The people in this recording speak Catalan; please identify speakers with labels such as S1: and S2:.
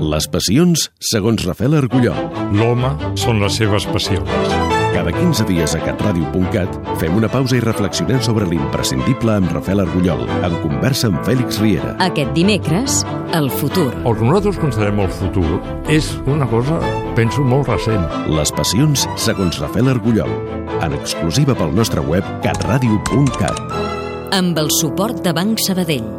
S1: les passions segons Rafael Argulló.
S2: L'home són les seves passions.
S1: Cada 15 dies a catradio.cat fem una pausa i reflexionem sobre l'imprescindible amb Rafael Argullol, en conversa amb Fèlix Riera.
S3: Aquest dimecres, el futur.
S2: El que nosaltres considerem el futur és una cosa, penso, molt recent.
S1: Les passions segons Rafael Argullol, en exclusiva pel nostre web catradio.cat.
S3: Amb el suport de Banc Sabadell.